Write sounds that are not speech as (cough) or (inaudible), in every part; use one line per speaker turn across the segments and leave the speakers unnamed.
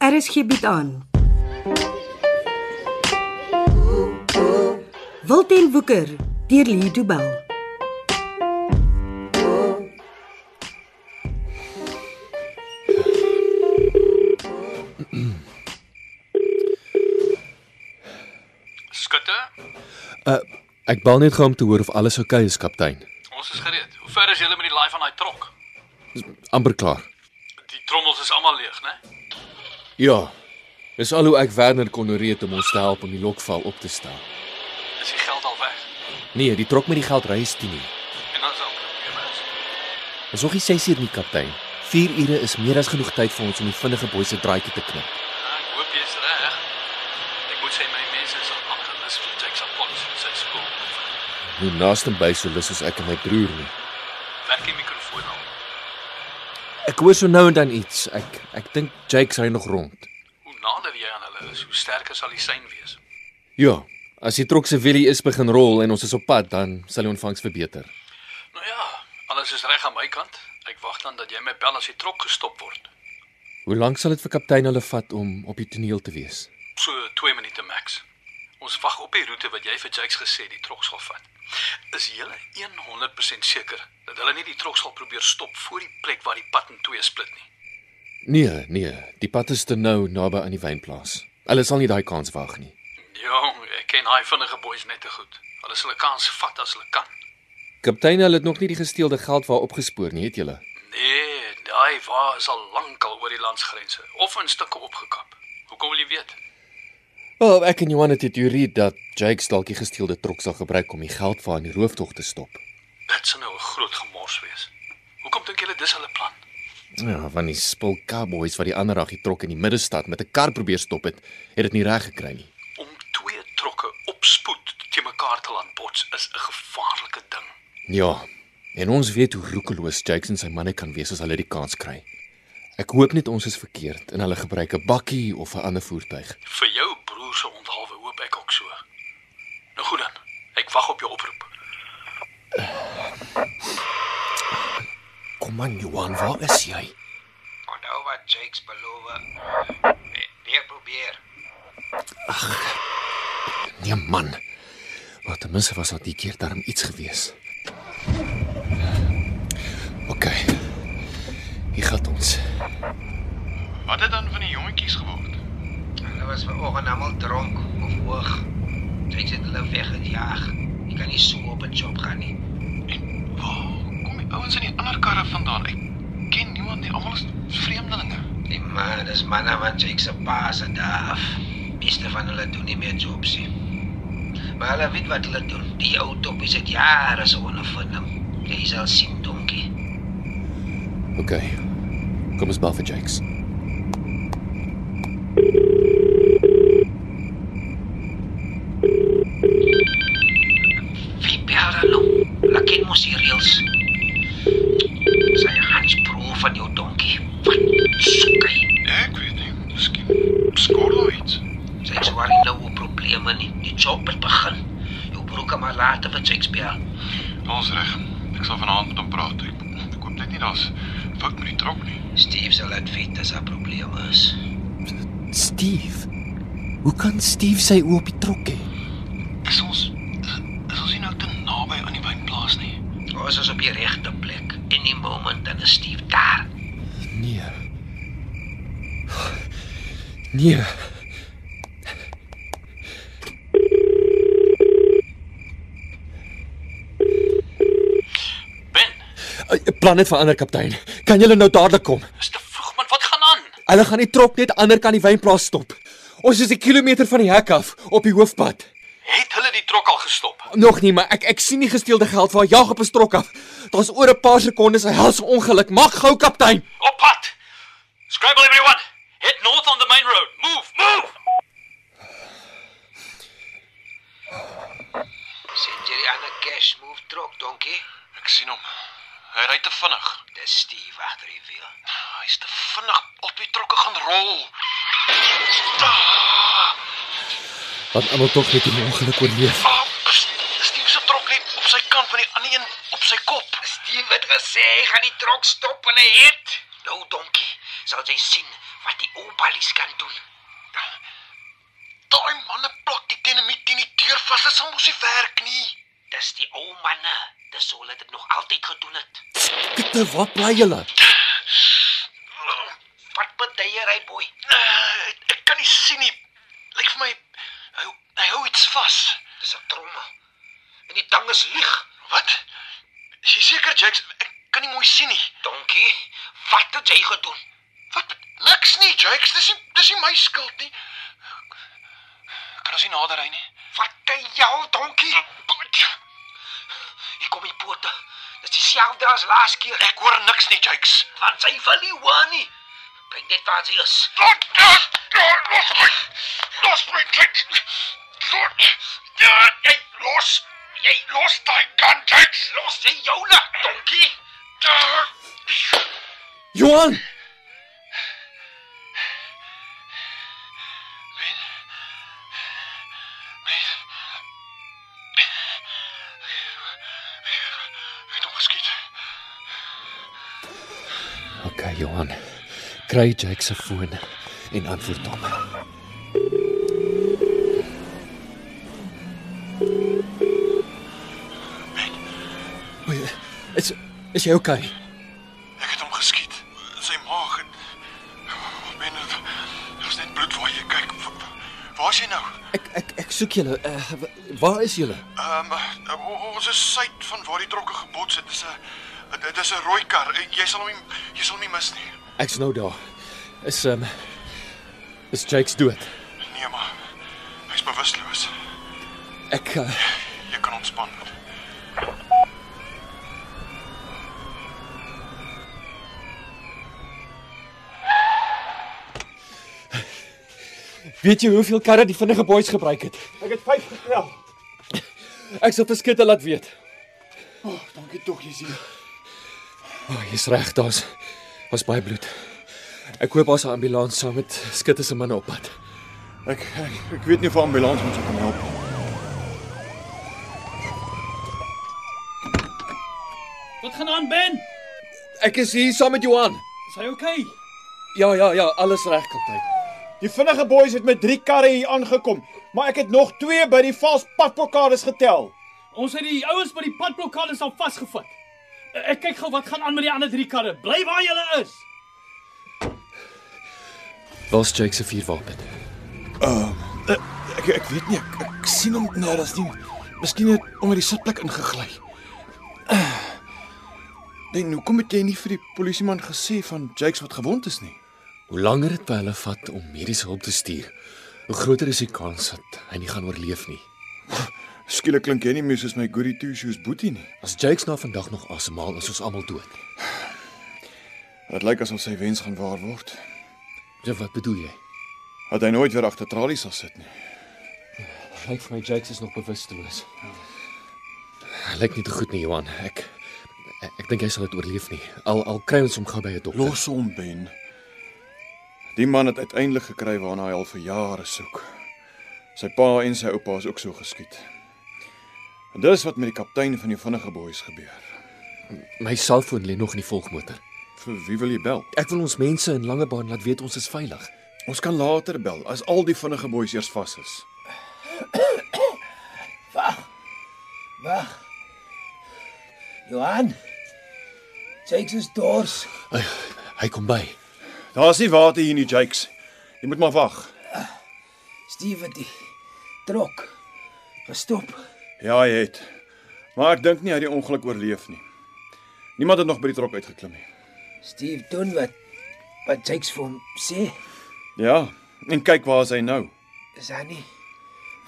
RSG bied Er aan. Wilten Woeker deur Lee Du Bell.
Skutte,
Ek bel net gou om te hoor of alles oukei okay is, kaptein.
ons is gereed. Hoe ver is julle met die laai van daai trok?
Amper klaar.
Die trommels is almal leeg, né?
Ja. Dis al hoe ek Werner kon reed om ons te help om die lokval op te stel.
Is die geld al weg?
Nee, die trok met die geld reis toe nie.
En dan sal probleme is.
Ons nog nie 6 uur nie, kaptein. 4 ure is meer as genoeg tyd vir ons om die vinnige boei se draaitjie te knip.
Ah, Ek hoop jy's reg. Ek moet sê my mense is al aangelus vir Jackson Potts en sy skool.
Nou naaste by so lus as ek en my broer nie.
Werk die mikrofoon al.
Ek hoor so nou en dan iets. Ek ek dink Jake's ry nog rond.
Hoe nader jy aan hulle is, hoe sterker sal die sein wees.
Ja, as die trok se wielie is begin rol en ons is op pad, dan sal die ontvangs verbeter.
Nou ja, alles is reg aan my kant. Ek wag dan dat jy my bel as die trok gestop word.
Hoe lank sal dit vir kaptein hulle vat om op die toneel te wees?
So 2 minute max. Ons wag op die roete wat jy vir Jakes gesê die trok sal vat. Is jy 100% seker dat hulle nie die trok sal probeer stop voor die plek waar die pad in twee split nie?
Nee, nee, die pad is te nou naby aan die wynplaas. Hulle sal nie daai kans wag nie.
Jong, ek ken daai vinnige boeis net te goed. Hulle sal 'n kans vat as hulle kan.
Kaptein, hulle het nog nie die gesteelde geld waar opgespoor nie, het julle?
Nee, daai wa is al lankal oor die landsgrense of in stukke opgekap. Hoekom wil jy weet?
Wel, ek en Johan het die teorie dat Jake dalk die gesteelde trok sal gebruik om die geld waar in die rooftog te stop.
Dit sou nou 'n groot gemors wees. Hoekom dink julle dis hulle plan?
Ja, van die spul cowboys wat die ander dag die trok in die middestad met 'n kar probeer stop het, het dit nie reg gekry nie.
Om twee trokke op spoed te mekaar te laat bots is 'n gevaarlike ding.
Ja. En ons weet hoe roekeloos Jake en sy manne kan wees as hulle die kans kry. Ek hoop net ons is verkeerd en hulle gebruik 'n bakkie of 'n ander voertuig.
Vir jou broer se onthaalwe hoop ek ook so. Nou goed dan. Ek wag op jou oproep.
Kom aan, Johan, waar is jy?
Onthou wat Jakes beloof. Nee, Weer probeer.
Nee man. Wat ten minste was daar die keer darm iets gewees. OK. Hier gaan ons.
Wat het dan van die jongetjies geword?
Hulle was vanoggend almal dronk of hoog. Jakes het hulle weggejaag. Jy kan nie so op 'n job gaan nie.
En waar kom die ouens in die ander karre vandaan? Ek ken niemand nie, almal is vreemdelinge.
Die man, dis manne wat Jakes se pa se daar. af. Meeste van hulle doen nie meer jobs nie. Maar hulle weet wat hulle doen. Die ou toppies het jare se ondervinding. Jy sal sien, donkie.
OK. Kom ons bel vir Jakes.
Wie bel dan nou? Hulle ken mos die reëls. Sy handsproe van jou donkie. Wat soek hy?
Ek weet nie, miskien skoor daar iets.
Sy swaar nie nou oor probleme nie. Die job het begin. Jou broer kan maar later vir Shakespeare.
Ons reg. Ek sal vanaand met hom praat. Ek, ek hoop net nie daar's fout met die trok nie.
Steve sal dit weet as daar probleme is.
Steve. Hoe kan Steve sy oë op die trok hê?
Is ons is ons nie nou te naby aan die wynplaas nie?
Ons is op die regte plek. In die moment dan is Steve daar.
Nee. Nee.
Ben,
Eh, Plan het verander, kaptein. Kan julle nou dadelik kom?
is te vroeg man, wat gaan aan?
Hulle gaan die trok net ander kant die wynplaas stop. Ons is 'n kilometer van die hek af op die hoofpad.
Het hulle die trok al gestop?
Nog nie, maar ek ek sien die gesteelde geld waar jag op 'n strok af. Daar's oor 'n paar sekondes 'n helse ongeluk. Mag gou kaptein.
Op pad. Oh, Scramble everyone. Head north on the main road. Move, move.
Sien jy die ander cash move trok, donkie?
Ek sien hom. Hy ry te vinnig.
Dis Steve agter die wiel.
Hy's te vinnig. Al twee trokke gaan rol.
Wat almal tog net 'n ongeluk oorleef.
Ah, Steve se trok lê op sy kant van die ander een op sy kop.
Steve het gesê hy gaan die trok stop en hy het. Nou donkie, sal sal jy sien wat die opalies kan doen.
Daai manne plak die dinamiet teen die deur vas, dit sal mos nie werk nie.
Dis die ou manne, dis hoe hulle dit nog altyd gedoen het.
Pieter, wat bly julle?
Wat betuie hy boy?
Uh, ek kan nie sien nie. Lyk vir my hy hy hou iets vas.
Dis 'n trommel. En die ding is lieg.
Wat? Is jy seker, Jax? Ek kan nie mooi sien nie.
Donkie, wat het jy gedoen?
Wat? Niks nie, Jax. Dis nie dis nie my skuld nie. Kan ons nie nader ry nie?
Wat jy jou donkie? Ek kom hier pote. Dis dieselfde as laas keer.
Ek hoor niks nie, Jax.
Want sy val nie waar nie. Kyk net waar sy is.
Lot, los my. Los my kind. Lot. Ja, jy los. Jy los daai kan, Jax.
Los sy jou na, donkie.
Johan,
Men. Men. Het hom geskiet.
Okay, Johan. Kry Jake se foon en antwoord hom. Oei, ja. Is is jy okay?
Ek het hom geskiet. Sy maag het men het ons net bloed waar jy kyk. Wa- Waar is jy nou?
Ek ek ek soek julle. Uh, waar is julle?
Ehm um, ons is suid van waar die trokke gebots het. Dis 'n dit is 'n rooi kar. Jy sal hom nie, jy sal hom nie mis nie.
Ek's nou daar. Is um is Jake's dood.
Nee maar. Hy's bewusteloos.
Ek uh,
Jy kan ontspan.
weet jy hoeveel karre die vinnige boys gebruik het.
Ek het vyf gekrap.
Ek sal vir Skitter laat weet.
Oh, dankie tog jy's hier.
O, oh, jy's reg, daar's was baie bloed. Ek hoop daar's 'n ambulans saam met Skitter se manne op pad.
Ek ek, ek weet nie of 'n ambulans ons kan help.
Wat gaan aan Ben?
Ek is hier saam met Johan.
Is hy okay?
Ja, ja, ja, alles reg, kaptein.
Die vinnige boeis het met 3 karre hier aangekom, maar ek het nog 2 by die vals padblokkades getel.
Ons het die ouens by die padblokkade al vasgevat. Eh, Ek kyk gou wat gaan aan met die ander drie karre. Bly waar julle is.
Waar's Jake se vuurwapen?
Ek ek weet nie, ek, ek sien hom nêrens nie. Miskien het onder die sitplek ingegly. (clears throat) Dan hoekom het jy nie vir die polisieman gesê van Jakes wat gewond is nie?
Hoe langer dit by hulle vat om mediese hulp te stuur, hoe groter is die kans dat hy nie gaan oorleef nie.
Skielik klink jy nie meer soos my goody two shoes boetie nie.
As Jake na vandag nog asemhaal, is ons almal dood.
Dit lyk asof sy wens gaan waar word.
Ja, wat bedoel jy?
Dat hy nooit weer agter tralies sal sit nie.
Lyk vir my Jake is nog bewusteloos. Hy lyk nie te goed nie, Johan. Ek ek, ek dink hy sal dit oorleef nie. Al al kry ons hom gou by 'n dokter.
Los hom, Ben. Die man het uiteindelik gekry waarna hy al vir jare soek. Sy pa en sy oupa is ook so geskiet. En dis wat met die kaptein van die vinnige boeis gebeur.
My selfoon lê nog in die volgmotor.
Vir wie wil jy bel?
Ek wil ons mense in Langebaan laat weet ons is veilig.
Ons kan later bel as al die vinnige boeis eers vas is.
Wag. Johan. Jakes is dors.
Hy, hy kom by.
Daar's nie water hier nie, Jakes. Jy moet maar wag.
Steve het die trok gestop.
Ja, hy het. Maar ek dink nie hy het die ongeluk oorleef nie. Niemand het nog by die trok uitgeklim nie.
Steve doen wat wat Jakes vir hom sê.
Ja, en kyk waar is hy nou?
Is hy nie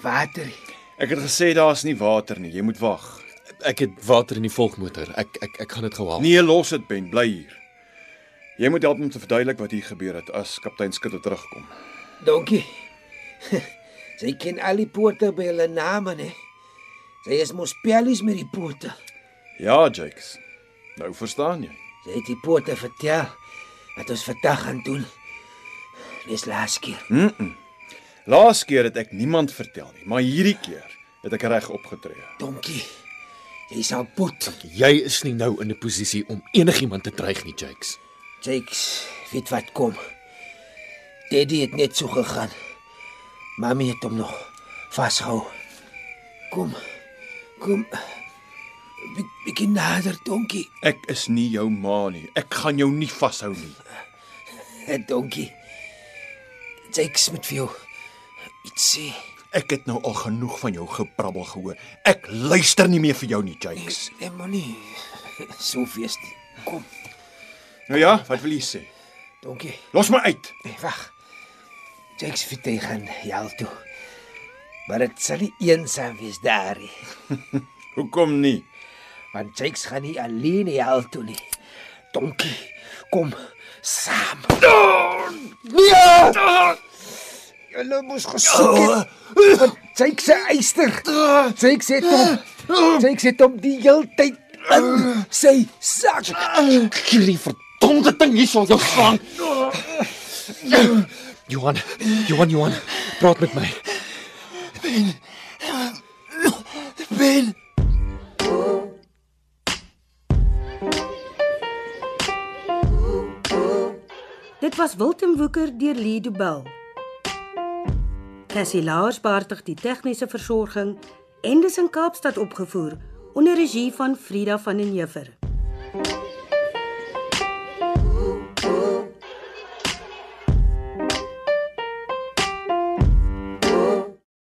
water nie.
Ek het gesê daar's nie water nie. Jy moet wag.
Ek het water in die volgmotor. Ek ek ek gaan dit gou haal.
Nee, los dit Ben, bly hier. Jy moet help om te verduidelik wat hier gebeur het as kaptein Skutte terugkom.
Donkie. (laughs) Sy ken al die poorte by hulle name, hè. Sy is mos pellies met die poorte.
Ja, Jakes. Nou verstaan jy.
Sy het die poorte vertel wat ons vandag gaan doen. Dis laas keer.
Laas keer het ek niemand vertel nie, maar hierdie keer het ek reg opgetree.
Donkie. Jy sal boet.
Jy is nie nou in 'n posisie om enigiemand te dreig nie, Jakes.
Jakes Weet wat kom? Daddy het net so gegaan. Mamy het hom nog vasgehou. Kom. Kom. Bek begin nader, donkie.
Ek is nie jou ma nie. Ek gaan jou nie vashou nie.
Het donkie. Jakes met vir jou. Iets sê.
Ek het nou al genoeg van jou geprabbel gehoor. Ek luister nie meer vir jou nie, Jakes.
Nee, moenie. So fees. nie. Kom,
Nou ja, wat wil jy sê?
donkie.
Los my uit.
Nee, wag. Jakes vir te gaan jaal toe. Maar dit sal nie eensaam wees daar nie,
Hoekom nie?
want Jakes gaan nie alleen jaal toe nie. Donkie, kom saam. Nee! Hulle moes gesoek het. Ja. Want Jakes se eyster. Jakes het hom. Jakes het hom die heeltyd in sy sak.
Hierdie verdomde ding hier sal jou vang. Johan, Johan, Johan, praat met my.
Ben.
Dit was Wilten Woeker deur Lee Du Bell. Cassie Lars beheerdig die tegniese versorging en dis in Kaapstad opgevoer onder regie van Frida van den Heever.